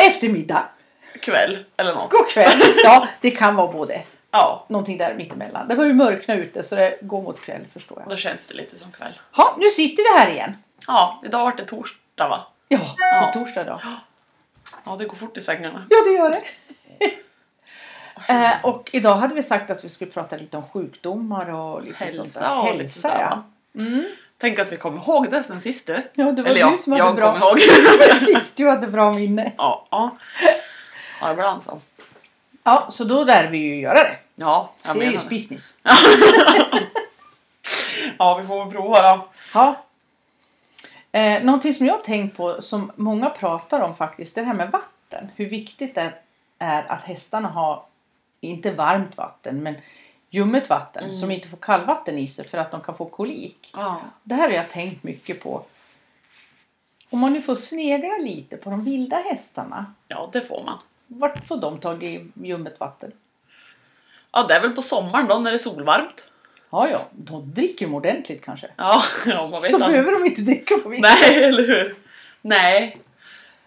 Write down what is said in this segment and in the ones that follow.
eftermiddag, Kväll eller något. god kväll. Ja, det kan vara både. Ja, Någonting där mittemellan. Det börjar mörkna ute så det går mot kväll förstår jag. då känns det lite som kväll. Ja, nu sitter vi här igen. Ja, idag vart det torsdag va? Ja, Ja. på torsdag då. Ja, det går fort i svängarna. Ja, det gör det. Eh, och idag hade vi sagt att vi skulle prata lite om sjukdomar och lite sånt där. Hälsa och lite sådär. ja. va? Mm. Tänk att vi kommer ihåg det sen sist du. Ja, det var Eller ja, du som hade jag bra... kommer ihåg. Precis, du hade bra minne. ja, ja. ja, ibland så. Ja, så då lär vi ju göra det. Ja, jag menar Serious det. business. Ja, vi får väl prova då. Ja. Eh, någonting som jag har tänkt på som många pratar om faktiskt, det här med vatten. Hur viktigt det är att hästarna har, inte varmt vatten, men ljummet vatten Mm. som inte får kallvatten i sig för att de kan få kolik. Ja. Det här har jag tänkt mycket på. Om man nu får snegla lite på de vilda hästarna, ja, det får man. vart får de tag i ljummet vatten? Ja, det är väl på sommaren då när det är solvarmt. Ja, ja, de dricker de ordentligt kanske. Ja, ja man vet Så aldrig. behöver de inte dricka på vintern. Nej, eller hur? Nej.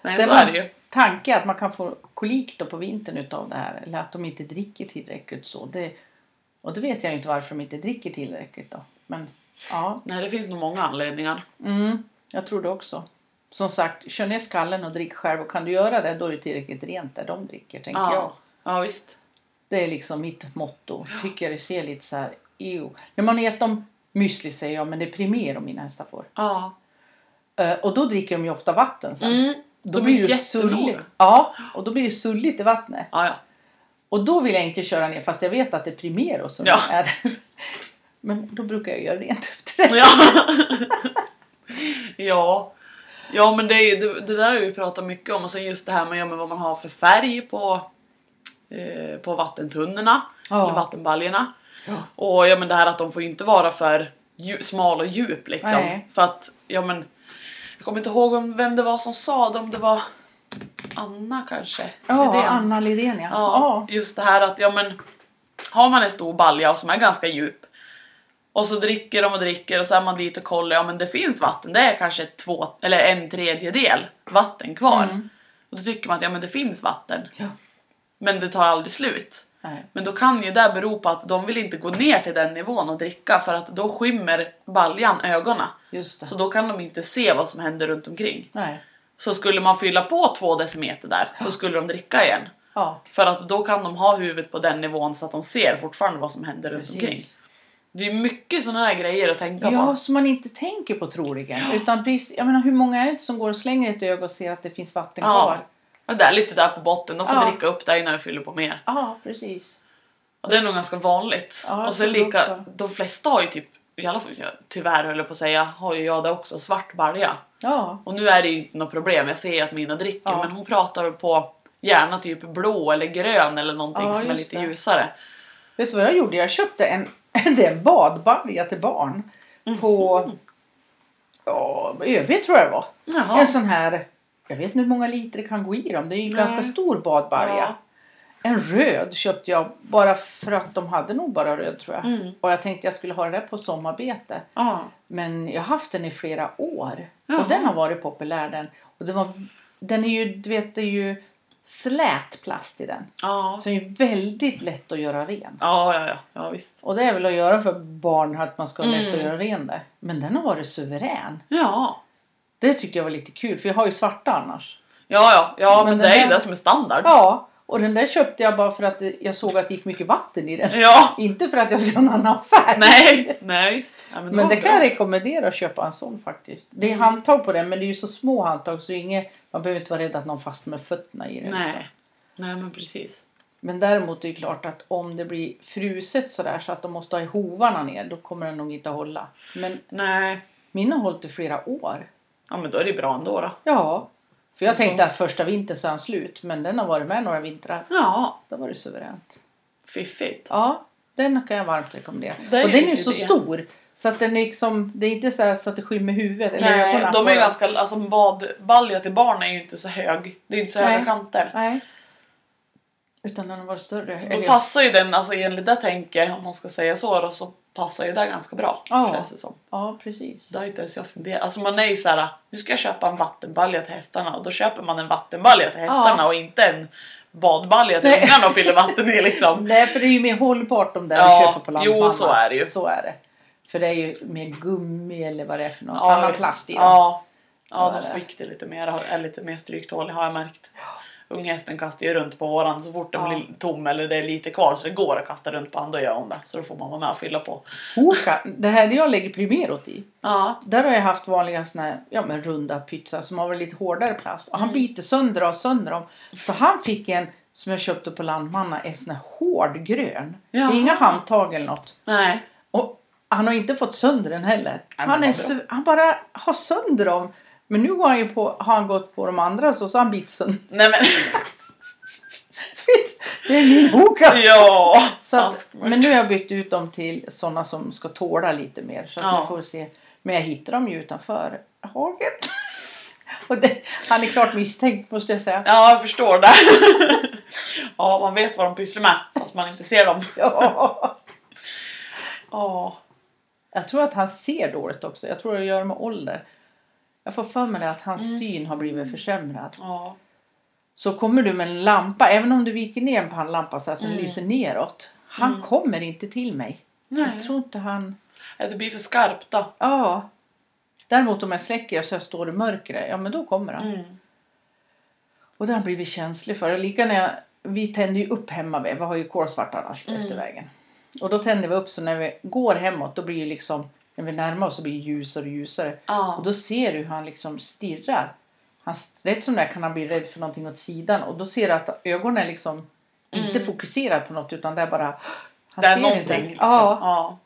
Nej, Det så var- är det ju. tanke att man kan få kolik då på vintern utav det här eller att de inte dricker tillräckligt så. Det, och det vet jag ju inte varför de inte dricker tillräckligt då. Men ja, Nej, det finns nog många anledningar. mm, jag tror det också. Som sagt, kör ner skallen och drick själv och kan du göra det då är det tillräckligt rent där de dricker tänker jag. Ja. ja, visst. Det är liksom mitt motto. Tycker jag det ser lite så här, ew. När man har gett dem müsli säger jag, men det är primer om mina hästar får. Ja. Eh, och då dricker de ju ofta vatten sen. Mm. Då de blir det är ju jättenoga. sulligt. Ja, och då blir det sulligt i vattnet. Ja, ja. Och då vill jag inte köra ner fast jag vet att det är Primero som Ja. är Men då brukar jag göra rent efter det. Ja. ja. Ja men det, är ju, det, det där har vi pratat mycket om och sen just det här med, ja, med vad man har för färg på, eh, på vattentunnorna Ja. eller vattenbaljorna. Ja. Och ja men det här att de får ju inte vara för dju- smal och djup liksom. Nej. För att, ja men jag kommer inte ihåg om, vem det var som sa det, om det var Anna kanske? Ja, Lidén. Anna Lidén ja. Ja, ja. just det här att ja, men, har man en stor balja som är ganska djup och så dricker de och dricker och så är man dit och kollar, ja men det finns vatten, det är kanske två eller en tredjedel vatten kvar. Mm. Och då tycker man att ja men det finns vatten, Ja. men det tar aldrig slut. Nej. Men då kan ju det bero på att de vill inte gå ner till den nivån och dricka för att då skymmer baljan ögonen. Just det. Så då kan de inte se vad som händer runt omkring. Nej. Så skulle man fylla på två decimeter där så skulle de dricka igen. Ja, För att då kan de ha huvudet på den nivån så att de ser fortfarande vad som händer runt omkring. precis. Det är mycket sådana här grejer att tänka Ja, på. som man inte tänker på troligen. Ja. Utan precis, jag menar hur många är det som går och slänger ett öga och ser att det finns vatten Ja. kvar? Och där, lite där på botten, de får Ja. dricka upp det innan de fyller på mer. Ja, precis. Och det är nog ganska vanligt. Ja, jag och sen tror det lika, också. de flesta har ju typ, i alla fall, tyvärr höll jag på att säga, har ju jag det också, svart balja. Ja, Och nu är det ju inte något problem, jag ser ju att mina dricker Ja. men hon pratar väl på gärna typ blå eller grön eller någonting Ja, som är just lite det. ljusare. vet du vad jag gjorde? Jag köpte en, det är en badbalja till barn på ja, ÖB tror jag det var. En Jaha. sån här, jag vet inte hur många liter det kan gå i dem. Det är ju en Nej. ganska stor badbalja. Ja. En röd köpte jag bara för att de hade nog bara röd tror jag. Mm. Och jag tänkte jag skulle ha det där på sommarbete. Ja. Men jag har haft den i flera år. Jaha. Och den har varit populär den. Och den, var, den är ju, du vet, det är ju slät plast i den. Ja. Så den är ju väldigt lätt att göra ren. Ja, ja, ja, ja visst. Och det är väl att göra för barn att man ska ha lätt Mm. att göra ren det. Men den har varit suverän. Ja. Det tyckte jag var lite kul för jag har ju svarta annars. Ja, ja, ja men, Men det den är ju där- det som är standard. Ja, och den där köpte jag bara för att det- jag såg att det gick mycket vatten i den. Ja, Inte för att jag skulle ha en annan färg. nej, nej visst. Ja, men Men var det kan jag bra. rekommendera att köpa en sån faktiskt. Det är handtag på den men det är ju så små handtag så inget, man behöver inte vara rädd att någon fastnar med fötterna i den. liksom. Nej. nej, men precis. Men däremot är det klart att om det blir fruset sådär så att de måste ha i hovarna ner då kommer den nog inte att hålla. Men Nej, min har hållit i flera år. ja, men då är det bra ändå då. Ja. För jag Mhm. tänkte att första vintern så är han slut men den har varit med några vintrar. Ja, Då var det suveränt. fiffigt. Ja, den kan jag varmt rekommendera. Det är och ju den är ju lite så det. stor. Så att den är liksom, det är inte så, här så att det skymmer huvudet eller Nej, ögonen. de är på ju den. ganska, alltså badbalja till barn är ju inte så hög. Det är inte så höga Nej. kanter. Nej. Utan den har varit större. Så Eller- då passar ju den, alltså enligt det tänket, om man ska säga så då, så passar ju där ganska bra. Ja. Känns det som. Ja, precis. Det har inte ens jag funderat. Alltså man är ju såhär, nu ska jag köpa en vattenbalja till hästarna och då köper man en vattenbalja till hästarna Ja. och inte en badbalja till Nej. ungarna och fyller vatten i liksom. Nej, för det är ju mer hållbart de där Ja, vi köper på jo, lanthandeln. så är det ju. Så är det. För det är ju mer gummi eller vad det är för något. Ja, jag Annan vet. plast i den. Ja, ja Vad är de det? sviktar lite mer, har- är lite mer stryktåliga har jag märkt. Unghästen kastar ju runt på våran så fort den Ja. blir tom eller det är lite kvar så det går att kasta runt på honom, då gör hon det. Så då får man vara med och fylla på. Hoka, det här jag lägger primerot i. Ja, Där har jag haft vanliga såna här, ja, men runda pizza som har varit lite hårdare plast. Och han Mm. biter sönder och sönder dem. Så han fick en som jag köpte på Landmanna, en sån här hård grön. Jaha. Inga handtag eller något. nej. Och han har inte fått sönder den heller. men han, vad är bra. så, han bara har sönder dem. Men nu har han, ju på, har han gått på de andra så, så han biter sönder. Nej men Det är min hoka! ja! Så att, Taskmört. men nu har jag bytt ut dem till sådana som ska tåla lite mer. Så att Ja. man får se. Men jag hittar dem ju utanför haget. Och det, han är klart misstänkt måste jag säga. Ja, jag förstår det. ja, man vet vad de pysslar med fast man inte ser dem. Ja. Ja, Jag tror att han ser dåligt också. Jag tror att det gör med ålder. Jag får för mig det att hans Mm. syn har blivit försämrad. ja, Så kommer du med en lampa, även om du viker ner en pannlampa så här som Mm. lyser neråt. Han kommer inte till mig. Nej. Jag tror inte han... ja. Det blir för skarpt då. Ja. Däremot om jag släcker så jag står i mörkret, ja men då kommer han. Mm. Och det har han blivit känslig för. Och lika när jag, vi tänder ju upp hemma, vi har ju kolsvart annars Mm. efter vägen. Och då tänder vi upp så när vi går hemåt då blir ju liksom, när vi närmar oss så blir det ljusare och ljusare. Ja. Och då ser du hur han liksom stirrar. Han, rätt som det är kan han bli rädd för någonting åt sidan och då ser du att ögonen är liksom inte fokuserade på något utan det är bara han Mm. det är ser någonting. Inte. Liksom. Ja, Ja.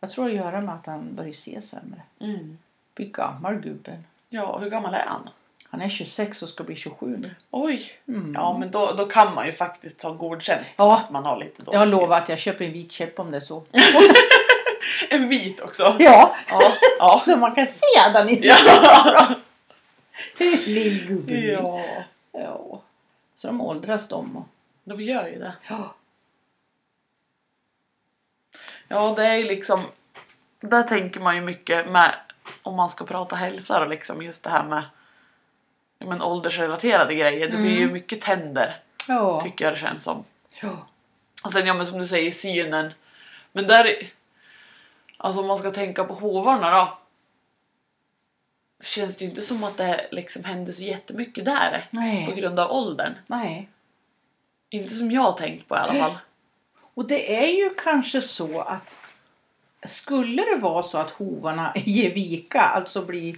jag tror det har att göra med att han börjar se sämre. Mm. Blir gammal gubben. ja, hur gammal är han? Han är 26 och ska bli 27 nu. Oj! Mm. Ja, men då, då kan man ju faktiskt ta godkänt. Ja. att Man har lite dålig Jag syn. lovar att jag köper en vit käpp om det är så. En vit också. Ja, Ja. Ja. så man kan se den inte. ja. Lillgubben. Ja. ja. ja. Så de åldras de. och- De gör ju det. Ja. Ja, det är ju liksom... Där tänker man ju mycket med om man ska prata hälsa då, liksom just det här med ja, men, åldersrelaterade grejer. Det Mm. blir ju mycket tänder Ja. tycker jag det känns som. ja. Och sen ja men som du säger synen. Men där... Alltså om man ska tänka på hovarna då. Så känns det ju inte som att det liksom händer så jättemycket där. Nej. På grund av åldern. Nej. Inte som jag har tänkt på i alla fall. Och det är ju kanske så att skulle det vara så att hovarna ger vika, alltså blir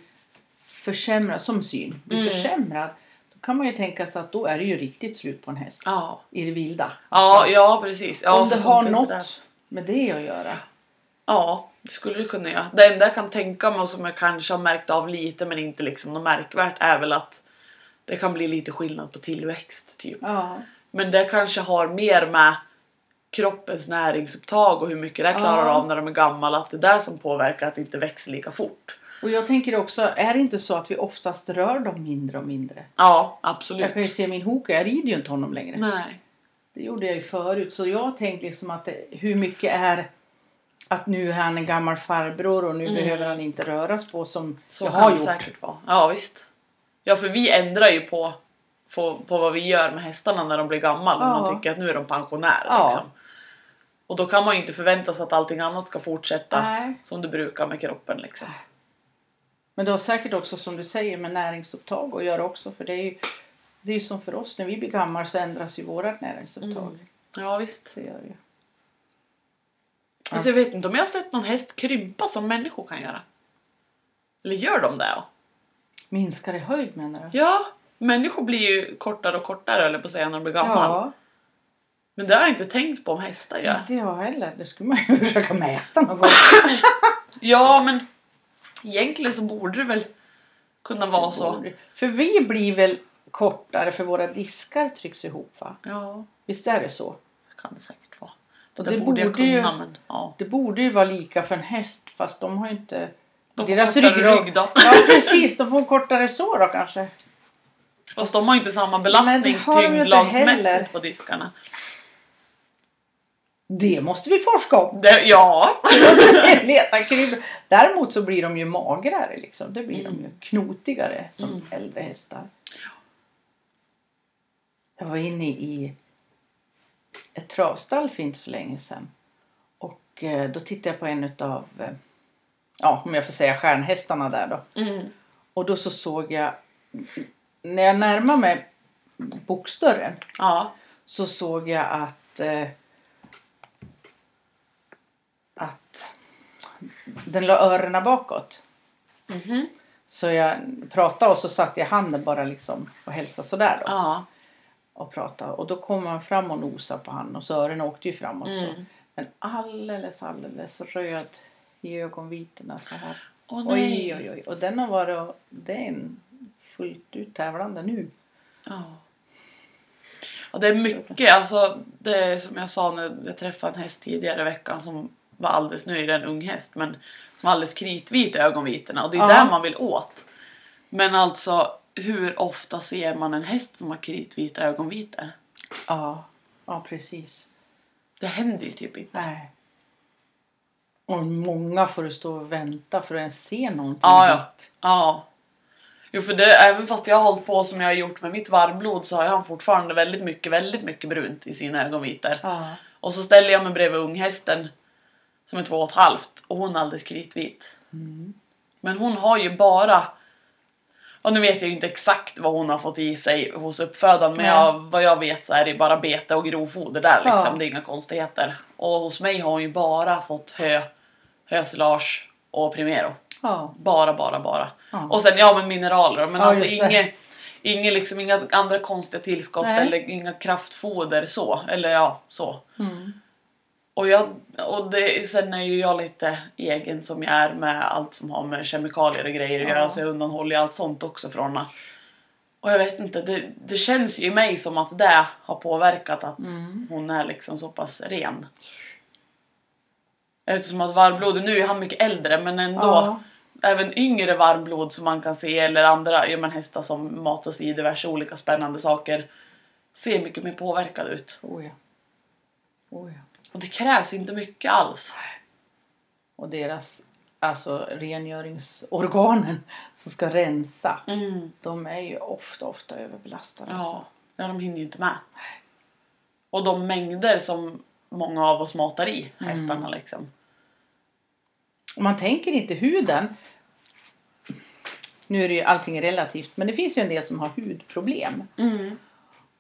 försämrad som syn, blir Mm. försämrad, då kan man ju tänka sig att då är det ju riktigt slut på en häst Ja. i det vilda. Ja, ja precis. Ja, Alltså, Om det för har funkar inte det här. något med det att göra. Ja, det skulle det kunna göra. Det enda jag kan tänka mig och som jag kanske har märkt av lite men inte liksom något märkvärt är väl att det kan bli lite skillnad på tillväxt typ. Ja. Men det kanske har mer med kroppens näringsupptag och hur mycket det klarar Ja. av när de är gamla. Att det är där som påverkar att det inte växer lika fort. Och jag tänker också, är det inte så att vi oftast rör dem mindre och mindre? Ja, absolut. Jag kan ju se min hoka, jag rider ju inte honom längre. Nej. Det gjorde jag ju förut. Så jag har tänkt liksom att det, hur mycket är att nu är han en gammal farbror och nu behöver han inte röras på som Mm. Så jag kan har det gjort. säkert vara. Ja, visst. Ja, för vi ändrar ju på, på, på vad vi gör med hästarna när de blir gamla. När Ja. man tycker att nu är de pensionärer. Ja. Liksom. Och då kan man ju inte förvänta sig att allting annat ska fortsätta Nej. som det brukar med kroppen. Liksom. Men det har säkert också som du säger med näringsupptag att göra också. För det är ju, det är ju som för oss, när vi blir gamla så ändras ju vårat näringsupptag. Mm. Ja, visst. Det gör det ju. Alltså, jag vet inte om jag har sett någon häst krympa som människor kan göra. Eller gör de det? Ja. Minskar i höjd menar du? ja. Människor blir ju kortare och kortare eller på att säga när de blir gamla. Ja, Men det har jag inte tänkt på om hästar gör. inte jag heller. Det skulle man ju försöka mäta någon gång. Ja, men egentligen så borde det väl kunna vara så. För vi blir väl kortare för våra diskar trycks ihop va? Ja, Visst är det så? det kan det säkert vara. Det, Och där det borde jag borde ju- kunna, men ja. Det borde ju vara lika för en häst fast de har ju inte... De får kortare rygg då. Ja precis, de får kortare så då kanske. Fast de har inte samma Nej, belastning det har de ju inte tyngdlagsmässigt heller. på diskarna. Det måste vi forska om. Det, ja. Alltså, leta kryp. Däremot så blir de ju magrare. Liksom. Det blir de ju knotigare som Mm. äldre hästar. Jag var inne i ett travstall för inte så länge sedan. Och eh, då tittade jag på en utav, eh, ja om jag får säga stjärnhästarna där då. Mm. Och då så såg jag, när jag närmade mig boxdörren Ja. så såg jag att eh, att den la öronen bakåt. Mhm. Så jag pratade och så satte jag handen bara liksom och hälsade sådär då. Ja. Och pratade. Och då kom han fram och nosade på handen och så öronen åkte ju framåt så. Mm. Men alldeles alldeles röd i ögonvitorna så här. Åh Oj nej. oj oj. Och den har varit och, det är en fullt ut tävlande nu. Ja. Och det är mycket, alltså det är som jag sa när jag träffade en häst tidigare i veckan som var alldeles, nu är det en ung häst, men som var alldeles kritvit i ögonvitorna och det är Ja. där man vill åt. Men alltså hur ofta ser man en häst som har kritvita ögonvitor? Ja, ja precis. Det händer ju typ inte. Nej. Och många får du stå och vänta för att ens se någonting Ja, ja. vitt. Ja. Jo för det, även fast jag har hållit på som jag har gjort med mitt varmblod så har han fortfarande väldigt mycket, väldigt mycket brunt i sina ögonvitor. Ja. Och så ställer jag mig bredvid unghästen som är två och ett halvt och hon är alldeles kritvit. Men hon har ju bara... Och nu vet jag ju inte exakt vad hon har fått i sig hos uppfödaren men Nej. jag, vad jag vet så är det ju bara bete och grovfoder där Ja. liksom. Det är inga konstigheter. Och hos mig har hon ju bara fått hö, hösilage och primero. Ja. Bara, bara, bara. Ja. Och sen ja men mineraler men Ja, alltså just det. inget, inget liksom, inga andra konstiga tillskott Nej. eller inga kraftfoder så. Eller ja, så. Mm. Och, jag, och det, sen är ju jag lite egen som jag är med allt som har med kemikalier och grejer att Ja. göra så jag undanhåller ju allt sånt också från henne. Och jag vet inte, det, det känns ju i mig som att det har påverkat att Mm. hon är liksom så pass ren. Eftersom att varmblodet, nu är han mycket äldre men ändå Ja. även yngre varmblod som man kan se eller andra ja, men hästar som matas i diverse olika spännande saker ser mycket mer påverkade ut. Oh, ja. Oh, ja. Och det krävs inte mycket alls. Och deras alltså, rengöringsorganen som ska rensa. Mm. De är ju ofta, ofta överbelastade. Ja, alltså. ja, de hinner ju inte med. Och de mängder som många av oss matar i hästarna liksom. Och man tänker inte huden. Nu är det ju allting relativt men det finns ju en del som har hudproblem. Mm.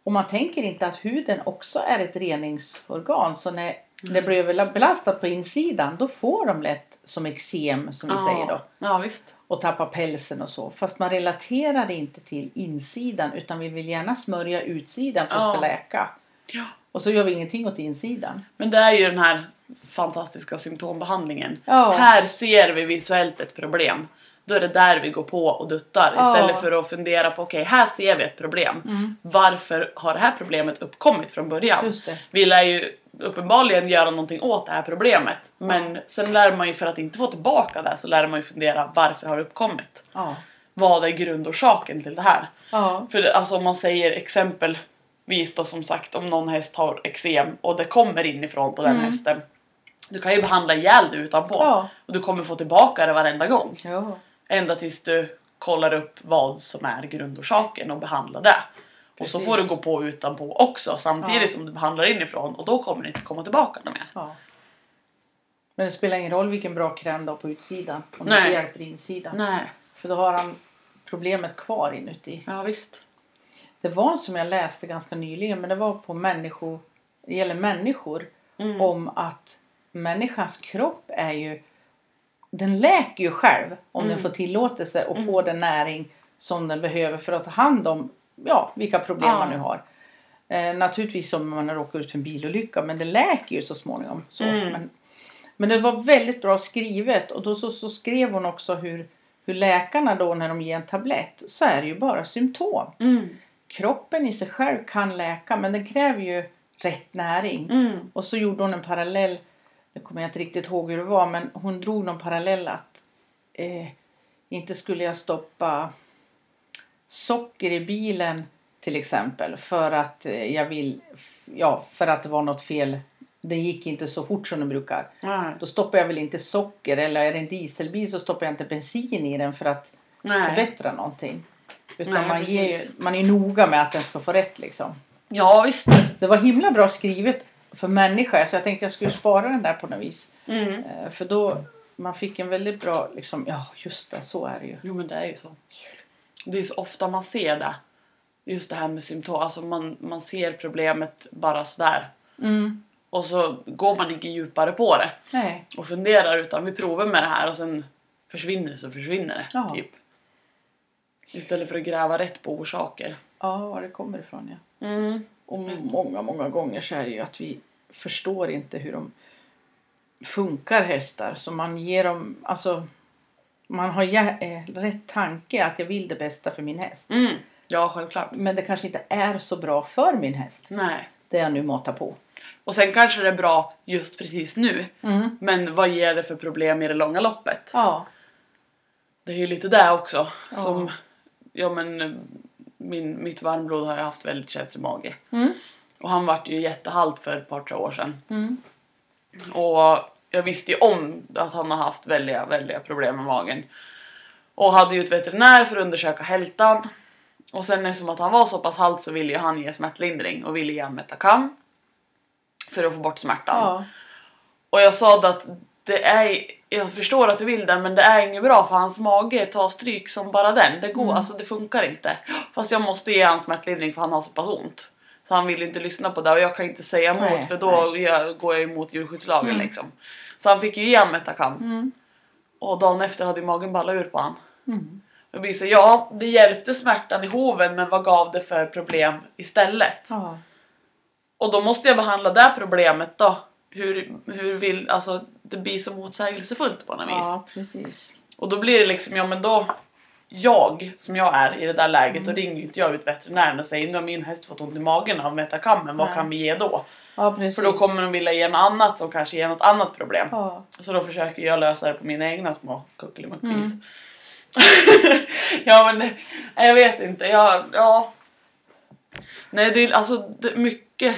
Och man tänker inte att huden också är ett reningsorgan. Så när det blir överbelastat på insidan då får de lätt som eksem som vi säger då. Ja, visst. Och tappar pälsen och så. Fast man relaterar det inte till insidan utan vi vill gärna smörja utsidan för att det ska Ja. läka. Ja. Och så gör vi ingenting åt insidan. Men det är ju den här fantastiska symptombehandlingen. Ja. Här ser vi visuellt ett problem. Då är det där vi går på och duttar Ja. Mm. istället för att fundera på okej, här ser vi ett problem. Varför har det här problemet uppkommit från början? Just det. Vi lär ju uppenbarligen göra någonting åt det här problemet. Men sen lär man ju för att inte få tillbaka det här så lär man ju fundera varför har det uppkommit? Ja. Vad är grundorsaken till det här? Ja. För alltså om man säger exempelvis då som sagt om någon häst har eksem och det kommer inifrån på den hästen. Du kan ju behandla ihjäl det utanpå Ja. och du kommer få tillbaka det varenda gång. Ja. Ända tills du kollar upp vad som är grundorsaken och behandlar det. Och så Precis. får du gå på utanpå också samtidigt Ja. som du behandlar inifrån och då kommer det inte komma tillbaka något mer. ja. Men det spelar ingen roll vilken bra kräm du har på utsidan. Om det Nej. inte hjälper insidan. Nej, För då har han problemet kvar inuti. ja visst. Det var en som jag läste ganska nyligen men det var på människor, det gäller människor Mm. om att människans kropp är ju den läker ju själv om Mm. den får tillåtelse och får den näring som den behöver för att ta hand om ja, vilka problem Ja. man nu har. Eh, naturligtvis om man har råkat ut för en bilolycka men det läker ju så småningom. Så. Mm. Men, men det var väldigt bra skrivet och då så, så skrev hon också hur, hur läkarna då när de ger en tablett så är det ju bara symptom Mm. kroppen i sig själv kan läka men den kräver ju rätt näring. Mm. Och så gjorde hon en parallell, nu kommer jag inte riktigt ihåg hur det var, men hon drog någon parallell att eh, inte skulle jag stoppa socker i bilen till exempel för att eh, jag vill, ja för att det var något fel det gick inte så fort som den brukar. Nej. Då stoppar jag väl inte socker eller är det en dieselbil så stoppar jag inte bensin i den för att Nej. förbättra någonting. Utan Nej, man, ger, ju- precis. man är noga med att den ska få rätt liksom. Ja visst. Det var himla bra skrivet för människa så jag tänkte jag skulle spara den där på något vis. Mm. Eh, För då man fick en väldigt bra liksom, ja just det, så är det ju. Jo men det är ju så. Det är så ofta man ser det. Just det här med symptom. Alltså man, man ser problemet bara sådär. Mm. Och så går man inte djupare på det. Nej. Och funderar utan vi provar med det här och sen försvinner det så försvinner det. Ja. Typ. Istället för att gräva rätt på orsaker. Ja, var det kommer ifrån ja. Mm. Och många, många gånger så är det ju att vi förstår inte hur de funkar hästar. Så man ger dem, alltså man har jä- eh, rätt tanke att jag vill det bästa för min häst. Mm. Ja självklart. Men det kanske inte är så bra för min häst, Nej. det jag nu matar på. Och sen kanske det är bra just precis nu. Mm. Men vad ger det för problem i det långa loppet? Ja. Det är ju lite det också. Ja. Som, ja men eh, min, mitt varmblod har ju haft väldigt känslig mage. Mm. Och han vart ju jättehalt för ett par tre år sedan. Mm. Och jag visste ju om att han har haft väldiga, väldiga problem med magen. Och hade ju ett veterinär för att undersöka hältan. Och sen eftersom att han var så pass halt så ville ju han ge smärtlindring och ville ge honom Metacam. För att få bort smärtan. Ja. Och jag sa det att det är, jag förstår att du vill det men det är inget bra för hans mage tar stryk som bara den. Det går, Mm. alltså det funkar inte. Fast jag måste ge han smärtlindring för han har så pass ont. Så han vill inte lyssna på det och jag kan inte säga emot Nej, för då jag, går jag emot djurskyddslagen liksom. Så han fick ju ge han Metacam. Mm. Och dagen efter hade ju magen ballat ur på han. Mm. Och vi sa ja, det hjälpte smärtan i hoven men vad gav det för problem istället? ja. Och då måste jag behandla det problemet då. Hur, hur vill, alltså det blir så motsägelsefullt på något vis. Ja, precis. Och då blir det liksom, ja men då. Jag som jag är i det där läget Mm. då ringer ju inte jag ut veterinären och säger nu har min häst fått ont i magen av metakammen, vad Nej. kan vi ge då? Ja, precis. För då kommer de vilja ge något annat som kanske ger något annat problem. Ja. Så då försöker jag lösa det på mina egna små kuckelimuckvis. Mm. ja men det- nej, jag vet inte. Jag, ja. Nej det är alltså det, är mycket.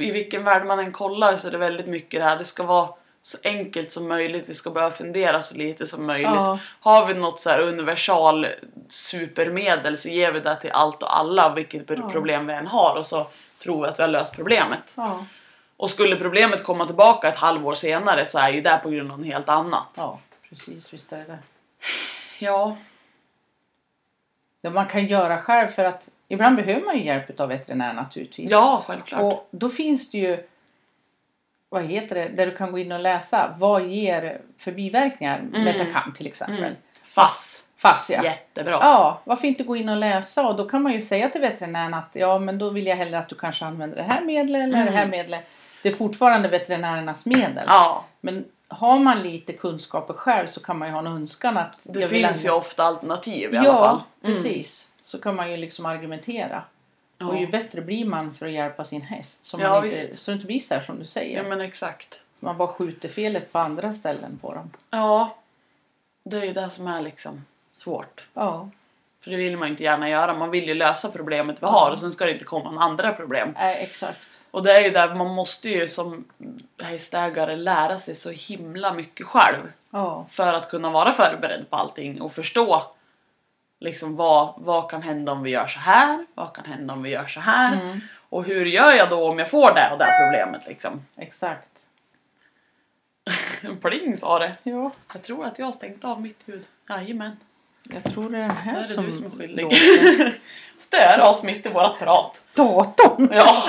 I vilken värld man än kollar så är det väldigt mycket det här. Det ska vara så enkelt som möjligt. Vi ska behöva fundera så lite som möjligt. Ja. Har vi något så här universal supermedel så ger vi det till allt och alla vilket Ja. problem vi än har och så tror vi att vi har löst problemet. Ja. Och skulle problemet komma tillbaka ett halvår senare så är ju det på grund av något helt annat. ja, precis. Visst är det. Ja. Det man kan göra själv för att ibland behöver man ju hjälp av veterinär naturligtvis. Ja, självklart. Och då finns det ju, vad heter det, där du kan gå in och läsa. Vad ger för biverkningar? Metacam till exempel. Mm. Fass. Fascia. Jättebra. Ja, varför inte gå in och läsa? Och då kan man ju säga till veterinären att ja, men då vill jag hellre att du kanske använder det här medlet eller det här medlet. Det är fortfarande veterinärernas medel. Mm. Ja. Men har man lite kunskaper själv så kan man ju ha en önskan att Det jag vill finns ju ändå- ofta alternativ i ja, alla fall. Mm. precis. Så kan man ju liksom argumentera. Ja. Och ju bättre blir man för att hjälpa sin häst. Så, man Ja, inte, visst. Mm. så det inte blir så här som du säger. Ja men exakt. Man bara skjuter felet på andra ställen på dem. Ja. Det är ju det som är liksom svårt. Ja. För det vill man ju inte gärna göra. Man vill ju lösa problemet vi har och sen ska det inte komma några andra problem. Nej, exakt. Och det är ju där man måste ju som hästägare lära sig så himla mycket själv. Ja. För att kunna vara förberedd på allting och förstå liksom vad, vad kan hända om vi gör så här, vad kan hända om vi gör så här Mm. och hur gör jag då om jag får det och det problemet liksom. Exakt. Pling sa det. Ja. Jag tror att jag har stängt av mitt ljud. Jajamän. Jag tror det är den här Där är som... du som är skyldig. låter. Stör oss mitt i vårat prat. Datorn! Ja.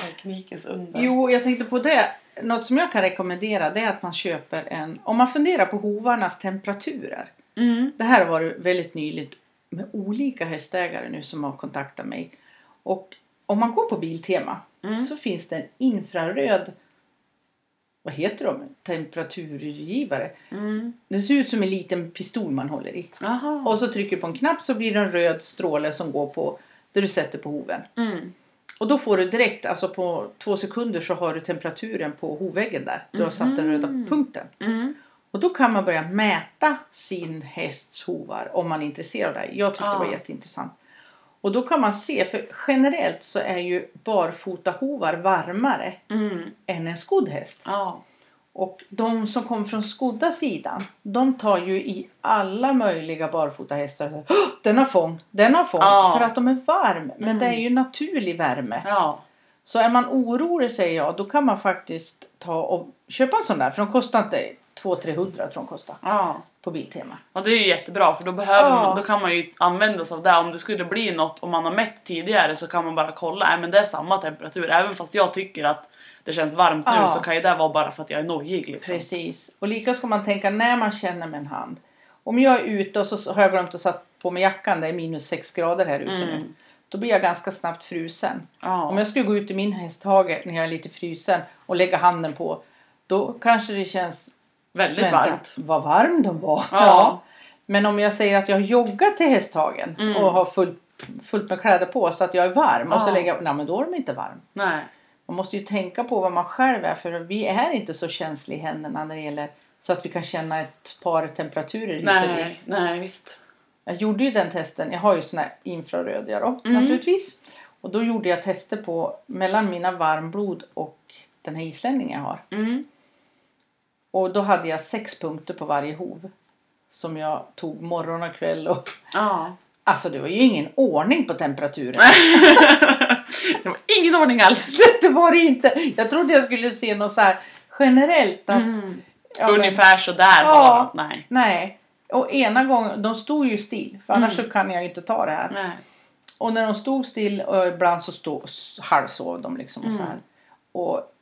Teknikens under. Jo, jag tänkte på det. Något som jag kan rekommendera det är att man köper en... Om man funderar på hovarnas temperaturer. Mm. Det här var väldigt nyligt med olika hästägare nu som har kontaktat mig. Och om man går på Biltema Mm. så finns det en infraröd... Vad heter de? Temperaturgivare. Mm. Det ser ut som en liten pistol man håller i. Aha. Och så trycker du på en knapp så blir det en röd stråle som går på där du sätter på hoven. Mm. Och då får du direkt, alltså på två sekunder så har du temperaturen på hovväggen där. Du har satt den röda punkten. Mm. Och då kan man börja mäta sin hästs hovar om man är intresserad av det. här. Jag tyckte det Ah. var jätteintressant. Och då kan man se, för generellt så är ju barfotahovar varmare Mm. än en skodd häst. Ja. Och de som kommer från skodda sidan, de tar ju i alla möjliga barfotahästar. Så, "Åh, Den har fång, den har fång. Ja. För att de är varm. Men det är ju naturlig värme. Ja. Så är man orolig säger jag, då kan man faktiskt ta och köpa en sån där. För de kostar inte 200-300 tror de kostar ja. på Biltema. Och det är ju jättebra för då, behöver Ja. man, då kan man ju använda sig av det. Om det skulle bli något om man har mätt tidigare så kan man bara kolla. Nej men det är samma temperatur. Även fast jag tycker att det känns varmt nu Ja. så kan ju det vara bara för att jag är nojig liksom. Precis. Och lika ska man tänka när man känner med en hand. Om jag är ute och så har jag glömt att sätta på mig jackan, det är minus 6 grader här ute nu. Mm. Då blir jag ganska snabbt frusen. Ja. Om jag skulle gå ut i min hästhage när jag är lite frusen och lägga handen på, då kanske det känns Väldigt "Vänta, varmt. Vad varm de var. Ja. Men om jag säger att jag har joggat till hästhagen och har fullt, fullt med kläder på så att jag är varm och så Mm. Ja. lägger jag, nej men då är de inte varm. Nej. Man måste ju tänka på vad man själv är för vi är inte så känsliga i händerna när det gäller så att vi kan känna ett par temperaturer hit och dit. Nej. Nej visst. Jag gjorde ju den testen. Jag har ju såna här infraröda då Mm. naturligtvis. Och då gjorde jag tester på mellan mina varmblod och den här islänningen jag har. Mm. Och då hade jag sex punkter på varje hov. Som jag tog morgon och kväll och... Ja. Alltså det var ju ingen ordning på temperaturen. det var ingen ordning alls. det var det inte. Jag trodde jag skulle se något så här generellt att... Mm. ja, men- Ungefär sådär Ja. var det. Nej. Nej. Och ena gången, de stod ju still. För Mm. annars så kan jag ju inte ta det här. Nej. Och när de stod still och ibland så stod, s- halvsov de liksom och så Mm. här. Och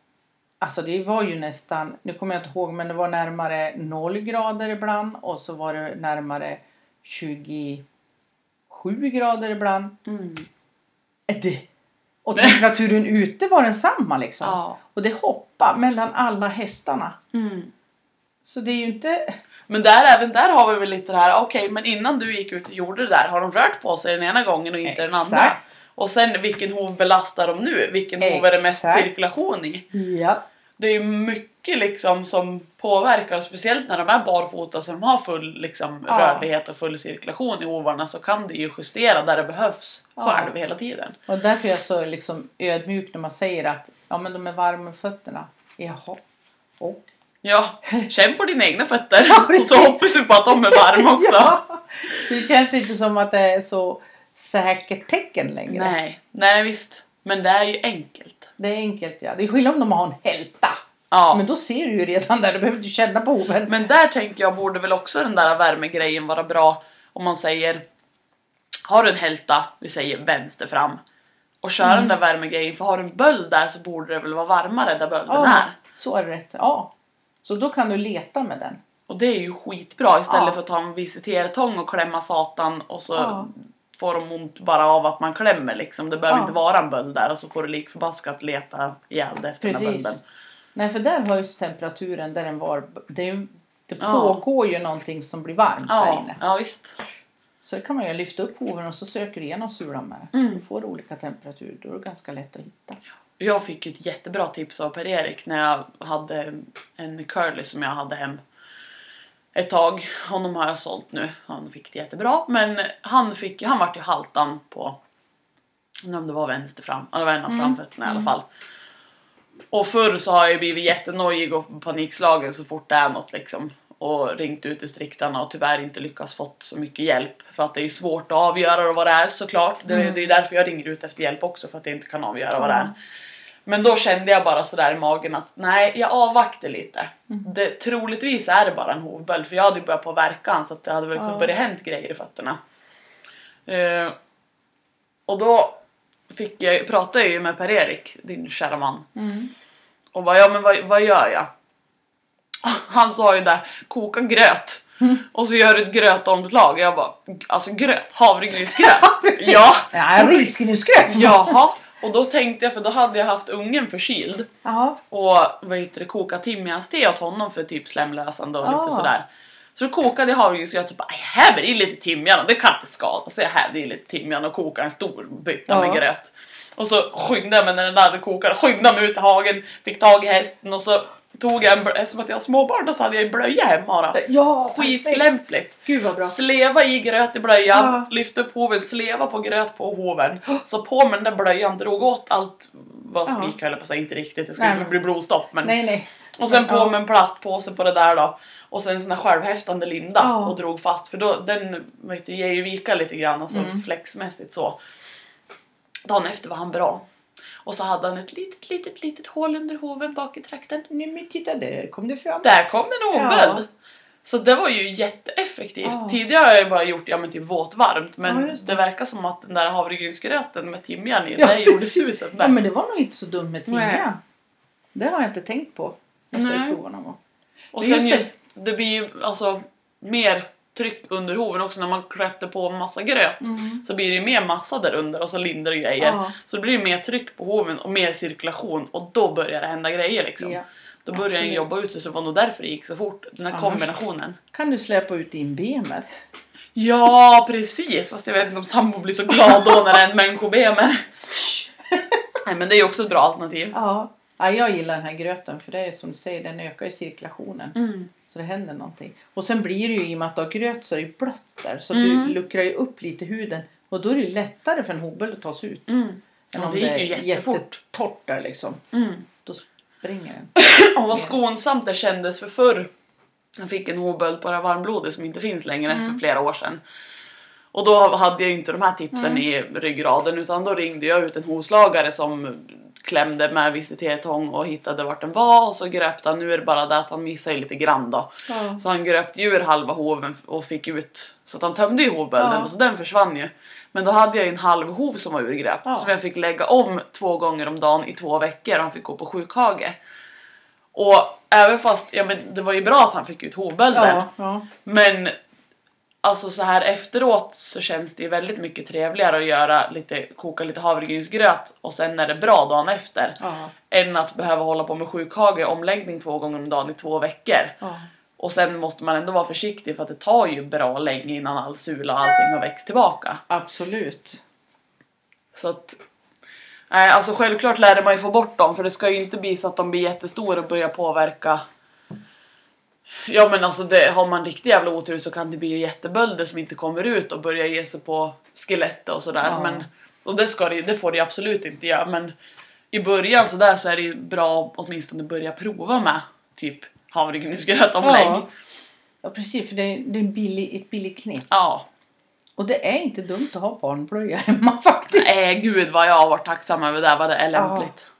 alltså det var ju nästan, nu kommer jag inte ihåg men det var närmare 0 grader ibland och så var det närmare 27 grader ibland. Mm. Äh, det- Och temperaturen ute var densamma liksom. Ja. Och det hoppade mellan alla hästarna. Mm. Så det är ju inte... Men där, även där har vi väl lite det här, okej men innan du gick ut och gjorde det där, har de rört på sig den ena gången och inte den andra? Exakt. Och sen vilken hov belastar de nu? Vilken hov är det mest Exakt. cirkulation i? Ja. Det är ju mycket liksom som påverkar och speciellt när de är barfota så de har full liksom, Ja. rörlighet och full cirkulation i hovarna så kan det ju justera där det behövs Ja. själv hela tiden. Och därför är jag så liksom ödmjuk när man säger att ja, men de är varma om fötterna. Jaha. Och? Ja, känn på dina egna fötter Ja, och så hoppas du på att de är varma också. Ja. Det känns inte som att det är så säkert tecken längre. Nej, nej visst. Men det är ju enkelt. Det är enkelt ja. Det är skillnad om de har en hälta. Ja. Men då ser du ju redan där. Du behöver inte känna på hoven. Men där tänker jag borde väl också den där värmegrejen vara bra om man säger Har du en hälta, vi säger vänster fram och kör Mm. den där värmegrejen för har du en böld där så borde det väl vara varmare där bölden ja, är. så är det rätt. Ja. Så då kan du leta med den. Och det är ju skitbra istället Ja. för att ta en visitertång och klämma satan och så Ja. får de ont bara av att man klämmer liksom. Det behöver Ja. inte vara en böld där och så får du lik förbaskat leta ihjäl det efter den där Precis. bölden. Nej för där höjs temperaturen där den var. Det, är ju- det Ja. pågår ju någonting som blir varmt där Ja, inne. ja visst. Så kan man ju lyfta upp hoven och så söker du igenom sulan med Mm. den. Du får olika temperaturer. Då är det ganska lätt att hitta. Jag fick ju ett jättebra tips av Per-Erik när jag hade en curly som jag hade hem ett tag. Honom har jag sålt nu. Han fick det jättebra. Men han, fick, han vart ju haltan på, jag undrar om det var vänster fram, ja, det var en av framfötterna i alla fall. Och förr så har jag ju blivit jättenojig och panikslagen så fort det är något liksom. Och ringt ut distriktarna och tyvärr inte lyckats fått så mycket hjälp. För att det är ju svårt att avgöra vad det är såklart. Det, det är ju därför jag ringer ut efter hjälp också för att jag inte kan avgöra vad det är. Men då kände jag bara sådär i magen att nej, jag avvaktar lite. Det, troligtvis är det bara en hovböld för jag hade ju börjat på verkan så att det hade väl Ja. börjat hänt grejer i fötterna. Eh, och då fick jag, pratade jag ju med Per-Erik, din kära man. Mm. Och bara, ja men vad, vad gör jag? Han sa ju där, koka gröt. Och så gör du ett grötomslag. Jag bara, alltså gröt? Havregrynsgröt? Precis. ja! Ja, risgrynsgröt! Jaha! Och då tänkte jag, för då hade jag haft ungen förkyld Ja. och vad heter det, koka timjanste åt honom för typ slemlösande och Ah. lite sådär. Så då kokade jag havregrynsgröt och bara "Aj, här blir det lite timjan och det kan inte skada. Så jag hävde i lite timjan och kokade en stor bytta Ja. med gröt. Och så skyndade jag mig när den hade kokat, skyndade mig ut i hagen, fick tag i hästen och så tog jag en blö- eftersom att jag har småbarn då så hade jag ju blöja hemma bara. Ja, perfekt. Skitlämpligt! Gud vad bra. Sleva i gröt i blöjan, Ja. lyfte upp hoven, sleva på gröt på hoven. Så på med den där blöjan, drog åt allt vad som Ja. gick höll jag på att säga, inte riktigt, det skulle Nej, inte men- bli blodstopp men. Nej, nej. Och sen på Ja. med en plastpåse på det där då. Och sen sån här självhäftande linda Ja. och drog fast för då, den vet du, ger ju vika lite grann alltså Mm. flexmässigt så. Dagen efter var han bra. Och så hade han ett litet, litet, litet hål under hoven bak i trakten. Nu men titta där kom det fram. Där kom den obel! Ja. Så det var ju jätteeffektivt. Ja. Tidigare har jag bara gjort ja, men typ våtvarmt men Ja, det. just verkar som att den där havregrynsgröten med timjan i, Ja, det gjorde precis. susen Ja, där. men det var nog inte så dumt med Nej. timjan. Det har jag inte tänkt på. Måste jag Nej. prova någon gång. Och Men sen just just, det blir ju alltså mer tryck under hoven också när man klätter på massa gröt. Så blir det ju mer massa där under och så lindar och grejer. Mm. Ja. Så det blir ju mer tryck på hoven och mer cirkulation och då börjar det hända grejer liksom. Ja. Då börjar den absolut. jobba ut sig så det var nog därför det gick så fort. Den här Annars- kombinationen. Kan du släpa ut din bemer? Ja precis! Fast jag vet inte om sambo blir så glad då när det är en människobemer. Nej men det är ju också ett bra alternativ. Ja. ja, jag gillar den här gröten för det är som du säger, den ökar ju cirkulationen. Mm, Så det händer någonting. Och sen blir det ju i och med att du har gröt så är det ju blött där. Så Mm. du luckrar ju upp lite huden. Och då är det ju lättare för en hobel att ta sig ut. Mm. Ja, det gick ju jättefort. jättetort där liksom. Mm. Då springer den. Och vad skonsamt det kändes för förr. Jag fick en hoböld bara varmblodig som inte finns längre för flera år sedan. Och då hade jag ju inte de här tipsen i ryggraden utan då ringde jag ut en hovslagare som klämde med visitertång och hittade vart den var och så gröpte han, nu är det bara det att han missade lite grann då. Ja. Så han gröpte ju ur halva hoven f- och fick ut så att han tömde ju hovbölden Ja. och så den försvann ju. Men då hade jag ju en halv hov som var urgröpt Ja. som jag fick lägga om två gånger om dagen i två veckor och han fick gå på sjukhage. Och även fast, ja men det var ju bra att han fick ut hovbölden Ja, ja. men alltså så här efteråt så känns det ju väldigt mycket trevligare att göra lite, koka lite havregrynsgröt och sen är det bra dagen efter. ja. Än att behöva hålla på med sjukhage, omläggning två gånger om dagen i två veckor. ja. Och sen måste man ändå vara försiktig för att det tar ju bra länge innan all sula och allting har växt tillbaka. Absolut. Så att... Nej, alltså självklart lär man ju få bort dem för det ska ju inte bli så att de blir jättestora och börjar påverka... Ja men alltså det, har man riktig jävla otur så kan det bli jättebölder som inte kommer ut och börjar ge sig på skelettet och sådär. Ja. Men, och det, ska det, ju- det får det ju absolut inte göra men i början så där så är det ju bra att åtminstone börja prova med typ havregrynsgrötomlägg. Ja. ja, precis. För det är, det är en billig, ett billigt knep. ja. Och det är inte dumt att ha barnblöja hemma faktiskt. Nej Eh, gud vad jag har varit tacksam över det, här, vad det är lämpligt.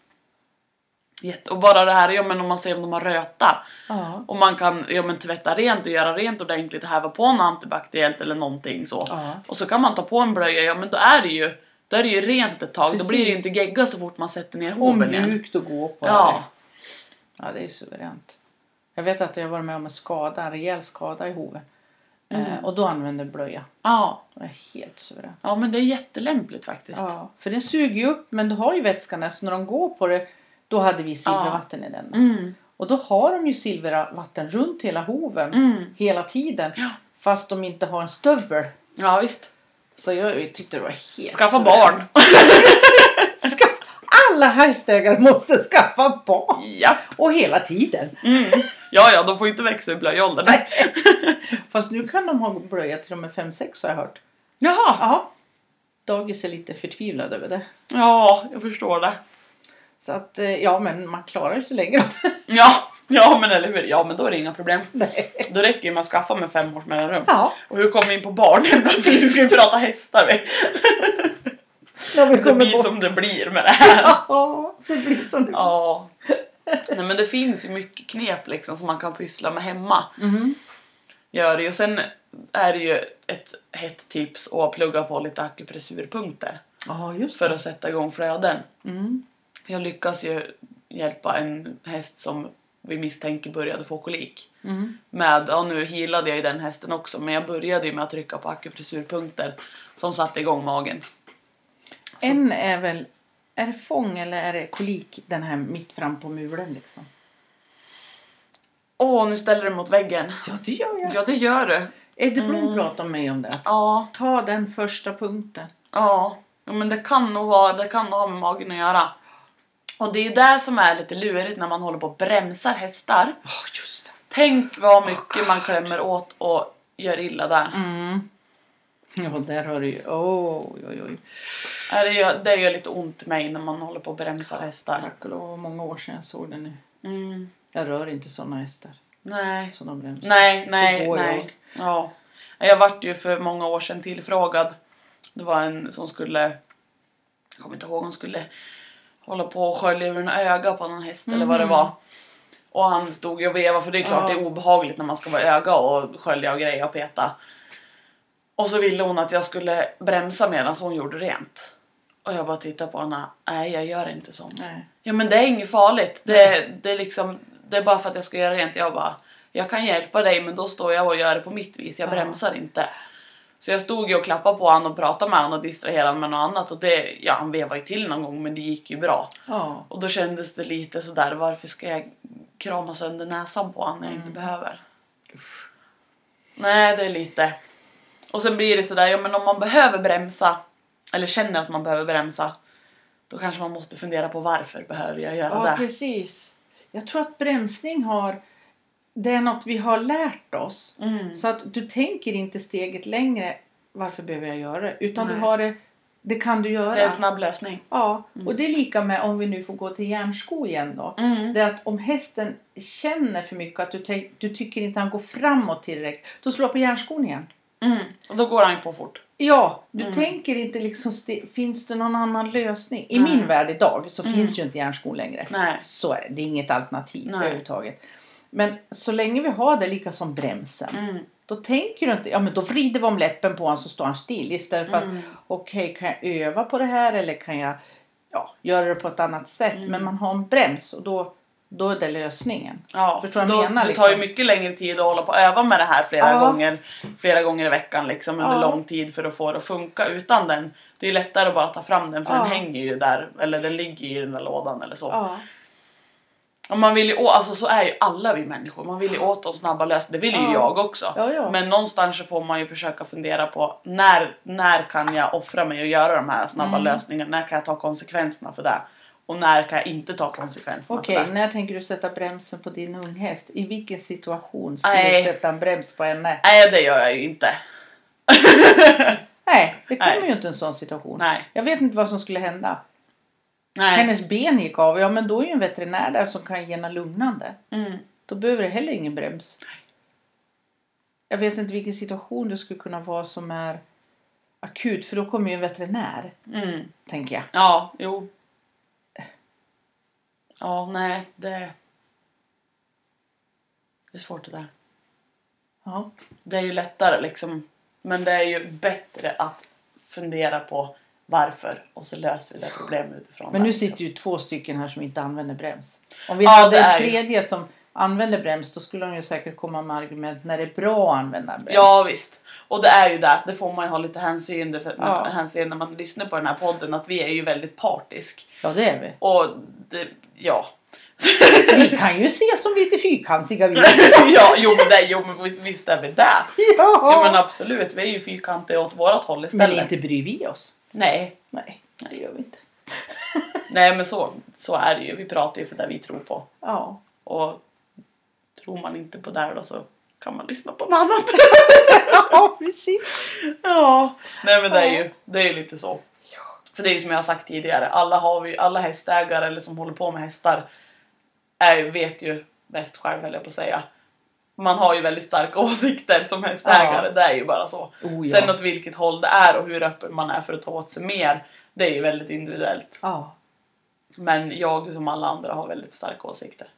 Jätte- och bara det här, ja men om man ser om de har röta. Ja. Och man kan ja, men tvätta rent och göra rent ordentligt och häva på en antibakteriellt eller någonting så. Ja. Och så kan man ta på en blöja, ja men då är det ju, då är det ju rent ett tag. Då Precis. blir det ju inte gegga så fort man sätter ner Och hoven igen. mjukt att gå på. Ja. Ja, det är suveränt. Jag vet att jag var med om en skada, en rejäl skada i hoven. Mm. Eh, och då använde jag blöja. Ja. Det är helt suveränt. ja, men det är jättelämpligt faktiskt. Ja, för den suger ju upp, men du har ju vätskan där, så när de går på det, då hade vi silvervatten i den. Mm. Och då har de ju silvervatten runt hela hoven, Mm. hela tiden. Ja. Fast de inte har en stövel. ja visst. Så jag tyckte det var helt Skaffa suveränt. barn. Skaff- Alla hästägare måste skaffa barn! ja. Och hela tiden! Mm. ja, ja, de får inte växa i blöjåldern. Fast nu kan de ha blöja till de är 5-6 har jag hört. Jaha. Ja. Dagis är lite förtvivlad över det. Ja, jag förstår det. Så att, eh, ja men man klarar ju så länge då. Ja, ja men eller hur. Ja men då är det inga problem. Nej. Då räcker ju med att skaffa med fem års mellanrum. Ja, Och hur kom vi in på barnen? Plötsligt ska vi prata hästar. vi. när vi Det kommer blir bort. som det blir med det här. Ja, det blir som det blir. Ja. Nej men det finns ju mycket knep liksom som man kan pyssla med hemma. Mhm. Gör det. ju. Och sen är det ju ett hett tips att plugga på lite akupressurpunkter. Ja, just För det. att sätta igång flöden. Mm. Jag lyckas ju hjälpa en häst som vi misstänker började få kolik. Mm. med, ja nu healade jag ju den hästen också men jag började ju med att trycka på akupressurpunkter som satte igång magen. En är väl, är det fång eller är det kolik den här mitt fram på mulen liksom? Åh, nu ställer du mot väggen. Ja, det gör jag. Mm. Ja, det gör du. Eddie Blom pratade med mig om det. att Ja, Ta den första punkten. ja. Ja, men det kan nog vara, det kan nog ha med magen att göra. Och det är ju det som är lite lurigt när man håller på och bremsar hästar. Ja, just Tänk vad mycket man klämmer åt och gör illa där. det. Mm. Ja, där har du ju. Oj, oj, oj. Ja, Det, gör, det gör lite ont i mig när man håller på och bremsar hästar. Tack och lov, vad många år sedan jag såg den nu. Mm. Jag rör inte såna hästar. Nej. Såna bremsar. Nej, nej, Då går nej. jag. Ja. Jag vart ju för många år sedan tillfrågad. Det var en som skulle, jag kommer inte ihåg, hon skulle hålla på och skölja ur en öga på någon häst eller vad det Mhm. var. Och han stod ju och vevade för det är klart Ja. det är obehagligt när man ska vara öga och skölja och greja och peta. Och så ville hon att jag skulle bremsa medan hon gjorde rent. Och jag bara tittade på henne. Nej, jag gör inte sånt. Nej. Ja men det är inget farligt. Det, det, är liksom, det är bara för att jag ska göra rent. Jag bara, jag kan hjälpa dig men då står jag och gör det på mitt vis. Jag Ja. bromsar inte. Så jag stod ju och klappade på honom och pratade med honom och distraherade honom med något annat. Och det, ja, han vevade ju till någon gång men det gick ju bra. Ja. Och då kändes det lite sådär, varför ska jag krama sönder näsan på honom när jag Mm. inte behöver? Usch. Nej, det är lite. Och sen blir det sådär, ja men om man behöver bromsa eller känner att man behöver bromsa då kanske man måste fundera på varför behöver jag göra Ja, det? precis. Jag tror att bremsning har... Det är något vi har lärt oss. Mm. Så att du tänker inte steget längre. Varför behöver jag göra det? Utan Nej. du har det... Det kan du göra. Det är Mm. en snabb lösning. Ja, och det är lika med om vi nu får gå till järnsko igen då. Mm. Det är att om hästen känner för mycket, att du, tänk- du tycker inte han går framåt tillräckligt, då slår på järnskon igen. Mm. Och då går han ju på fort. Ja, du Mm. tänker inte liksom, ste- finns det någon annan lösning? I min värld idag så finns ju inte järnskon längre. Mm. Nej. Så är det, det är inget alternativ Nej. överhuvudtaget. Men så länge vi har det lika som bremsen, Mm. då tänker du inte, ja men då vrider vi om läppen på honom så står han still istället för Mm. att okej kan jag öva på det här eller kan jag ja, göra det på ett annat sätt. Mm. Men man har en brems och då, då är det lösningen. Ja, Förstår vad då, jag menar, det liksom? tar ju mycket längre tid att hålla på och öva med det här flera, Ja. gånger, flera gånger i veckan liksom, under Ja. lång tid för att få det att funka utan den. Det är ju lättare att bara ta fram den för Ja. den hänger ju där eller den ligger ju i den där lådan eller så. Ja, Och man vill ju, å- alltså så är ju alla vi människor, man vill ju åt de snabba lösningarna, det vill Ja. ju jag också. Ja, ja. Men någonstans så får man ju försöka fundera på när, när kan jag offra mig och göra de här Mm. snabba lösningarna, när kan jag ta konsekvenserna för det? Och när kan jag inte ta konsekvenserna Okej, för det? när tänker du sätta bremsen på din unghäst? I vilken situation Nej. skulle du sätta en brems på henne? Nej det gör jag ju inte. Nej, det kommer Nej. ju inte en sån situation. Nej. Jag vet inte vad som skulle hända. Nej. Hennes ben gick av, ja men då är ju en veterinär där som kan ge henne lugnande. Mm. Då behöver det heller ingen brems. Jag vet inte vilken situation det skulle kunna vara som är akut för då kommer ju en veterinär, Mm. tänker jag. Ja, jo. Ja, nej, det... Det är svårt det där. Ja. Det är ju lättare liksom. Men det är ju bättre att fundera på varför och så löser vi det problemet utifrån Men det. nu sitter ju två stycken här som inte använder brems. Om vi Ja, hade det är en ju- tredje som använder brems då skulle de ju säkert komma med argument när det är bra att använda brems. Ja visst. Och det är ju det. Det får man ju ha lite hänseende för Ja. hänseende när man lyssnar på den här podden att vi är ju väldigt partisk. ja, det är vi. Och det, ja. Vi kan ju se som lite fyrkantiga vi. ja, jo men, det, jo men visst- visst är vi där. Ja men Ja, absolut, vi är ju fyrkantiga åt vårat håll men istället. inte bryr vi oss. Nej. Nej, det gör vi inte. Nej men så, så är det ju. Vi pratar ju för det vi tror på. Ja. Och tror man inte på det här då så kan man lyssna på något annat. ja, precis. ja. Nej men det är Ja. ju, det är ju lite så. För det är ju som jag har sagt tidigare, alla, har vi, alla hästägare eller som håller på med hästar är, ju- vet ju bäst själv höll jag på att säga. Man har ju väldigt starka åsikter som hästägare, Ja. det är ju bara så. Oh, ja. Sen åt vilket håll det är och hur öppen man är för att ta åt sig mer, det är ju väldigt individuellt. Ja. Men jag som alla andra har väldigt starka åsikter.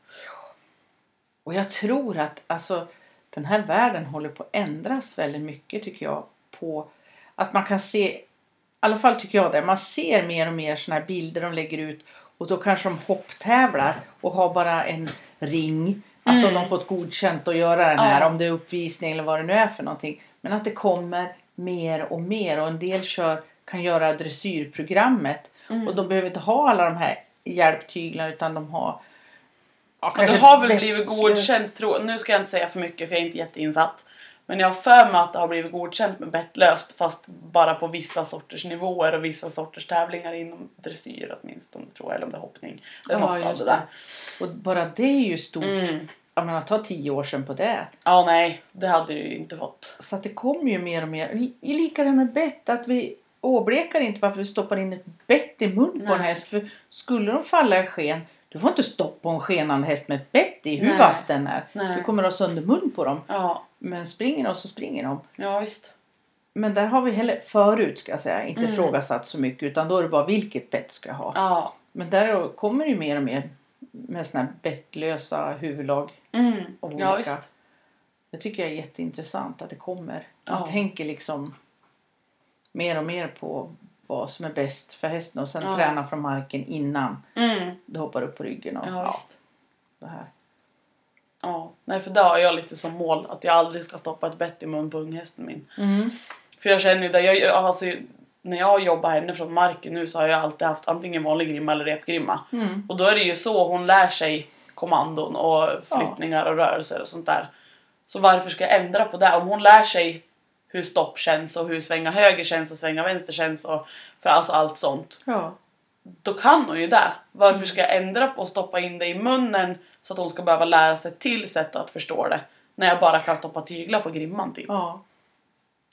Och jag tror att alltså, den här världen håller på att ändras väldigt mycket tycker jag. På att man kan se, i alla fall tycker jag det, man ser mer och mer sådana här bilder de lägger ut och då kanske de hopptävlar och har bara en ring. Alltså Mm. de fått godkänt att göra den här Ja. om det är uppvisning eller vad det nu är för någonting. Men att det kommer mer och mer och en del kör, kan göra dressyrprogrammet Mm. och de behöver inte ha alla de här hjälptyglarna utan de har Ja, Ja, kanske du har väl ett blivit vettlöst- godkänd, tro, nu ska jag inte säga för mycket för jag är inte jätteinsatt. Men jag har för mig att det har blivit godkänt med bettlöst fast bara på vissa sorters nivåer och vissa sorters tävlingar inom dressyr åtminstone tror jag. Eller om det är hoppning. Eller något av det där. Och bara det är ju stort. Mm. Jag menar, ta tio år sedan på det. Ja nej, det hade du ju inte fått. Så att det kommer ju mer och mer. I- i Lika det här med bett. Att vi åblekar inte varför vi stoppar in ett bett i mun på en Nej. häst. För skulle de falla i sken. Du får inte stoppa en skenande häst med ett bett i hur Nej. vass den är. Nej. Du kommer att ha sönder mun på dem. Ja, Men springer de så springer de. ja visst. Men där har vi heller förut ska jag säga inte Mm. ifrågasatt så mycket utan då är det bara vilket bett ska jag ha. Ja. Men där kommer det ju mer och mer med såna här bettlösa huvudlag. Mm. Och Ja olika. visst. Det tycker jag är jätteintressant att det kommer. Man Ja. tänker liksom mer och mer på vad som är bäst för hästen och sen Ja. träna från marken innan Mm. du hoppar upp på ryggen och Ja ja, visst. det här. Ja, nej för där har jag lite som mål att jag aldrig ska stoppa ett bett i mun på unghästen min. Mm. För jag känner ju det, jag, alltså, när jag har jobbat henne från marken nu så har jag alltid haft antingen vanlig grimma eller repgrimma. Mm. Och då är det ju så hon lär sig kommandon och flyttningar och rörelser och sånt där. Så varför ska jag ändra på det? Om hon lär sig hur stopp känns och hur svänga höger känns och svänga vänster känns och för alltså allt sånt. Ja. Då kan hon ju det. Varför ska jag ändra på och stoppa in det i munnen så att hon ska behöva lära sig ett till sätt att förstå det? När jag bara kan stoppa tyglar på grimman typ. ja.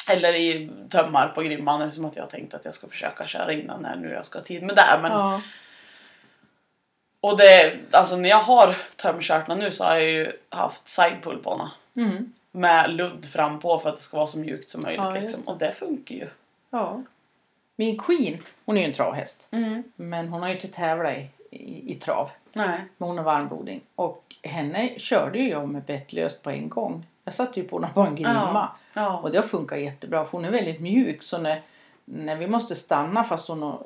Eller i tömmar på grimman eftersom att jag tänkte att jag ska försöka köra innan när nu jag ska ha tid med det. Men ja. Och det, alltså när jag har tömkörtlarna nu så har jag ju haft sidepull på henne. Mm. Med ludd fram på för att det ska vara så mjukt som möjligt. Ja, just liksom. Och det funkar ju. ja. Min Queen, hon är ju en travhäst. Mm. Men hon har ju inte tävlat i, i, i trav. Nej. Men hon har varmblodig. Och henne körde ju jag med bettlöst på en gång. Jag satte ju på henne på en grimma. Ja. Och det har funkat jättebra för hon är väldigt mjuk. Så när, när vi måste stanna fast hon har-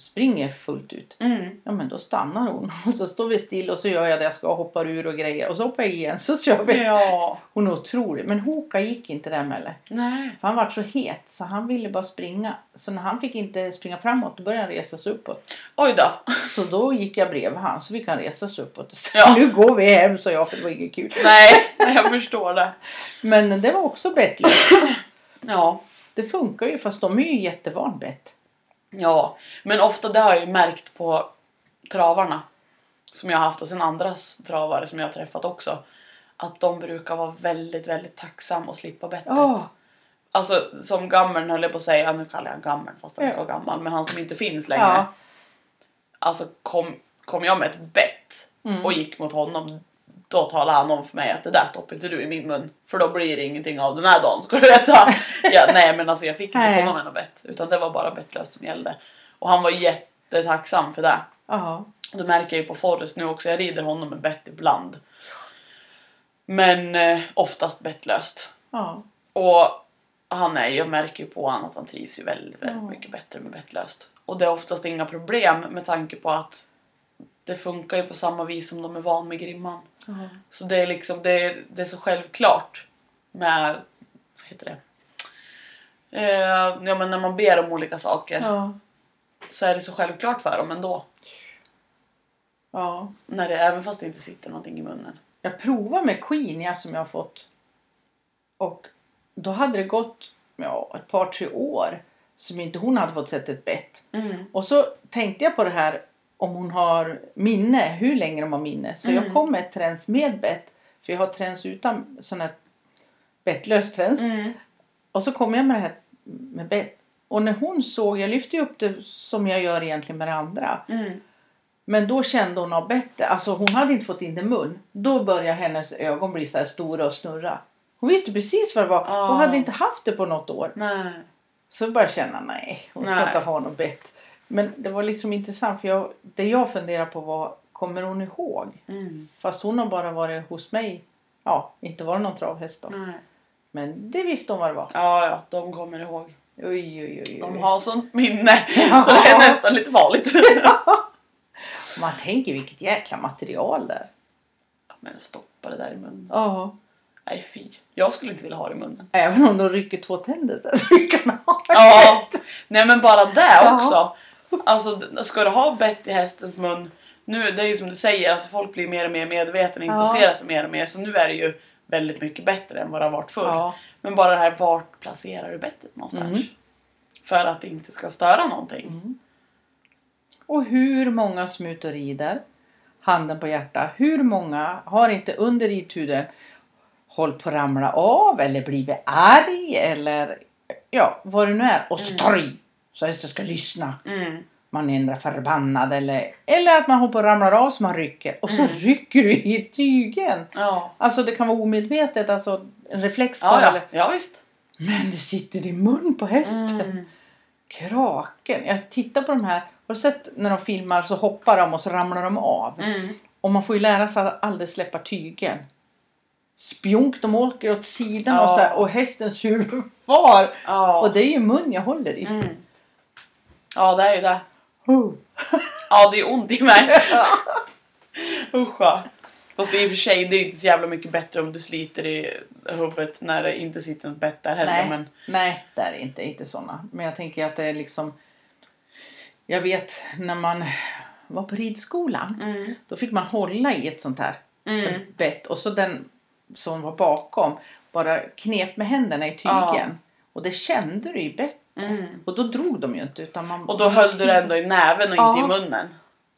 springer fullt ut. Mm. Ja men då stannar hon. Och så står vi still och så gör jag det jag ska. Hoppar ur och grejer. Och så hoppar jag igen så kör vi. Ja. Hon är otrolig. Men Hoka gick inte där med Nej. För han var så het så han ville bara springa. Så när han fick inte springa framåt då började han resa sig uppåt. Oj då. Så då gick jag bredvid han så vi kan resa sig uppåt och säga Ja. nu går vi hem så jag för det var inget kul. Nej, nej, jag förstår det. Men det var också bettlöst. Ja. Det funkar ju fast de är ju jättevan bett. Ja. Men ofta det har jag ju märkt på travarna. Som jag har haft och sen andra travare som jag har träffat också. Att de brukar vara väldigt, väldigt tacksam och slippa bettet. Ja, Alltså som gammeln höll jag på att säga, nu kallar jag han gammeln fast han Ja. inte var gammal, men han som inte finns längre. ja, Alltså kom, kom jag med ett bett Mm. och gick mot honom, då talade han om för mig att det där stoppar inte du i min mun. För då blir det ingenting av den här dagen ska du veta. ja, nej men alltså jag fick inte Nej. komma med något bett. Utan det var bara bettlöst som gällde. Och han var jättetacksam för det. ja. Det märker jag ju på Forrest nu också, jag rider honom med bett ibland. Men eh, oftast bettlöst. ja. Och han är, jag märker ju på honom att han trivs ju väldigt, väldigt Ja. mycket bättre med bettlöst. Och det är oftast inga problem med tanke på att det funkar ju på samma vis som de är van med grimman. ja. Så det är liksom, det är, det är så självklart med, vad heter det? Eh, ja men när man ber om olika saker ja. så är det så självklart för dem ändå. ja. När det, även fast det inte sitter någonting i munnen. Jag provade med Queen ja, som jag har fått. Och då hade det gått ja, ett par tre år som inte hon hade fått sett ett bett. Och så tänkte jag på det här om hon har minne, hur länge de har minne. Så Mm. jag kom med ett träns med bett. För jag har träns utan sån här bettlöst träns. Mm. Och så kom jag med det här med bett. Och när hon såg, jag lyfte ju upp det som jag gör egentligen med det andra. Mm. Men då kände hon av bättre. Alltså hon hade inte fått in det i mun. Då började hennes ögon bli så här stora och snurra. Hon visste precis vad det var Ah. och hade inte haft det på något år. Nej. Så började jag känna nej, hon ska Nej. inte ha något bett. Men det var liksom intressant för jag, det jag funderade på var, kommer hon ihåg? Mm. Fast hon har bara varit hos mig. Ja, inte var det någon travhäst då. Nej. Men det visste hon vad det var. Ja, ja, de kommer ihåg. Oj, oj, oj. De oj. har sånt minne Mm. Ja. så det är nästan lite farligt. Man tänker vilket jäkla material där. Men stoppa det där i munnen. Ja. Nej fy. Jag skulle inte vilja ha det i munnen. Även om de rycker två tänder så att vi kan ha det. Ja. Nej men bara det Ja. också. Alltså d- ska du ha bett i hästens mun. Nu, det är ju som du säger, alltså folk blir mer och mer medvetna och Ja. intresserar sig mer och mer. Så nu är det ju väldigt mycket bättre än vad det har varit förr. Ja. Men bara det här vart placerar du bettet någonstans? Mm. För att det inte ska störa någonting. Mhm. Och hur många som är ute och rider, handen på hjärta, hur många har inte under ridturen hållit på att ramla av eller blivit arg eller ja, vad det nu är. Och stry! Så att jag ska lyssna. Mm. Man ändrar förbannad eller, eller att man håller på och ramlar av så man rycker. Och så Mm. rycker du i tygen. Ja. Alltså det kan vara omedvetet, alltså en reflex bara. Ja, ja. Eller, ja, visst. men det sitter i mun på hästen. Mm. Kraken. Jag tittar på de här. Har du sett när de filmar så hoppar de och så ramlar de av. Mm. Och man får ju lära sig att aldrig släppa tygen. Spjunk, de åker åt sidan och, Ja. så här, och hästens huvud far. Ja. Och det är ju mun jag håller i. mm. ja, det är ju det. Huh. Ja, det är ont i mig. Usch ja. Fast det är i och för sig det är inte så jävla mycket bättre om du sliter i huvudet när det inte sitter något bett där heller. Nej, Men, nej, det är det inte. Inte sådana. Men jag tänker att det är liksom... Jag vet när man var på ridskolan. mm. Då fick man hålla i ett sånt här Mm. bett och så den som var bakom bara knep med händerna i tygen. Ja. Och det kände du i bett. Mm. Och då drog de ju inte utan man... Och då höll du det ändå i näven och Ja. inte i munnen.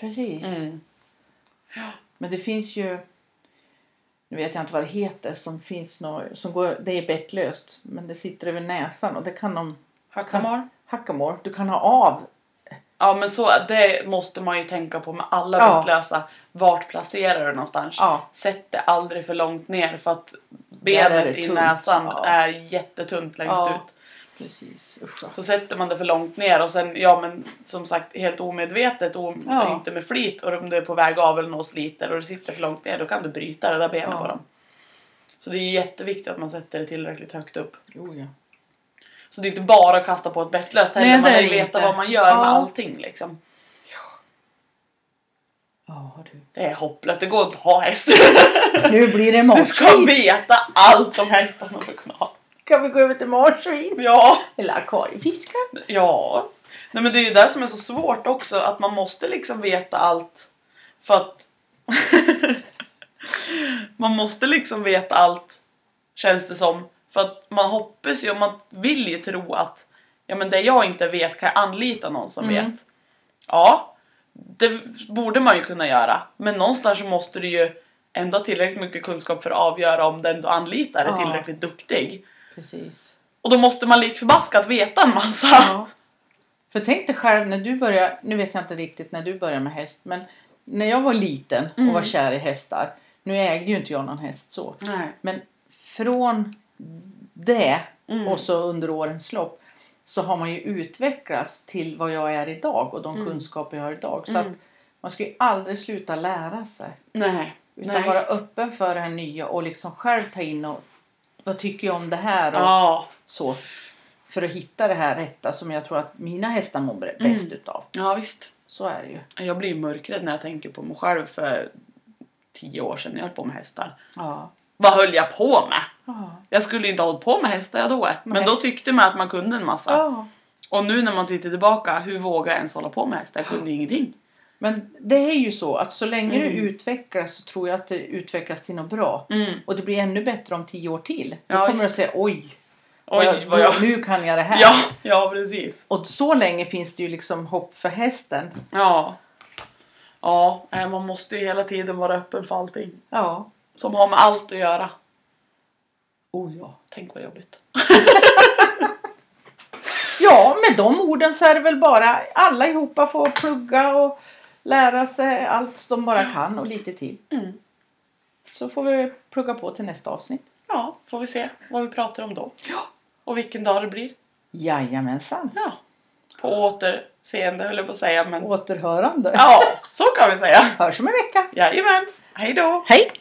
Precis. Mm. Men det finns ju... Nu vet jag inte vad det heter som finns nå som går, det är bettlöst men det sitter över näsan och det kan de... Hackamar. Hackamore, du kan ha av. Ja men så det måste man ju tänka på med alla Ja. vettlösa. Vart placerar du någonstans? Ja. Sätt det aldrig för långt ner för att Där är det benet i tunt. näsan Ja. är jättetunt längst Ja. ut. Precis, usch alltså. vad- Så sätter man det för långt ner och sen, ja men som sagt helt omedvetet och Ja. inte med flit och om du är på väg av eller något och sliter och det sitter för långt ner då kan du bryta det där benet Ja. på dem. Så det är jätteviktigt att man sätter det tillräckligt högt upp. Jo, ja. Så det är inte bara att kasta på ett bettlöst Nej, heller, det man är vill det veta inte. vad man gör Ja. med allting liksom. Ja, du. Det är hopplöst, det går inte att ha häst. Nu blir det Du ska marsvin! veta allt om hästar man får kunna ha. Kan vi gå över till marsvin? Ja, Eller akvariefiskar? ja. Nej men det är ju det som är så svårt också, att man måste liksom veta allt. För att... man måste liksom veta allt, känns det som. För att man hoppas ju, och man vill ju tro att ja men det jag inte vet kan jag anlita någon som Mm. vet. Ja, det borde man ju kunna göra. Men någonstans så måste du ju ändå ha tillräckligt mycket kunskap för att avgöra om den du anlitar är Ja. tillräckligt duktig. Precis. Och då måste man lik förbaskat veta en massa. Ja. För tänk dig själv när du börjar, nu vet jag inte riktigt när du började med häst, men när jag var liten och var kär i hästar, nu ägde ju inte jag någon häst så, Nej. men från det Mm. och så under årens lopp så har man ju utvecklats till vad jag är idag och de kunskaper jag har idag. Så Mm. att man ska ju aldrig sluta lära sig. Nej. Utan Nej, vara just- öppen för det här nya och liksom själv ta in och vad tycker jag om det här? Och, Ja. så för att hitta det här rätta som jag tror att mina hästar mår bäst Mm. utav. ja, visst. Så är det ju. Jag blir mörkrädd när jag tänker på mig själv för tio år sedan när jag höll på med hästar. Ja. Vad höll jag på med? Ja. Jag skulle ju inte ha hållit på med hästar jag då. Men Nej. då tyckte man att man kunde en massa. ja. Och nu när man tittar tillbaka, hur vågar jag ens hålla på med hästar? Jag kunde ju ingenting. Men det är ju så att så länge du Mm. utvecklas så tror jag att det utvecklas till något bra. Mm. Och det blir ännu bättre om tio år till. Då Ja, kommer du att visst. säga oj, Oj, vad jag... nu kan jag det här. Ja, ja precis. Och så länge finns det ju liksom hopp för hästen. Ja. Ja, nej, man måste ju hela tiden vara öppen för allting. Ja. Som har med allt att göra. Oh, ja. Tänk vad jobbigt. Ja, med de orden så är det väl bara allihopa får plugga och lära sig allt de bara kan och lite till. Mm. Så får vi plugga på till nästa avsnitt. Ja, får vi se vad vi pratar om då. Ja. Och vilken dag det blir. Jajamensan. Ja. På återseende höll jag på att säga men... Återhörande. Ja, så kan vi säga. Hörs om en vecka. Jajamän. Hej då. Hej!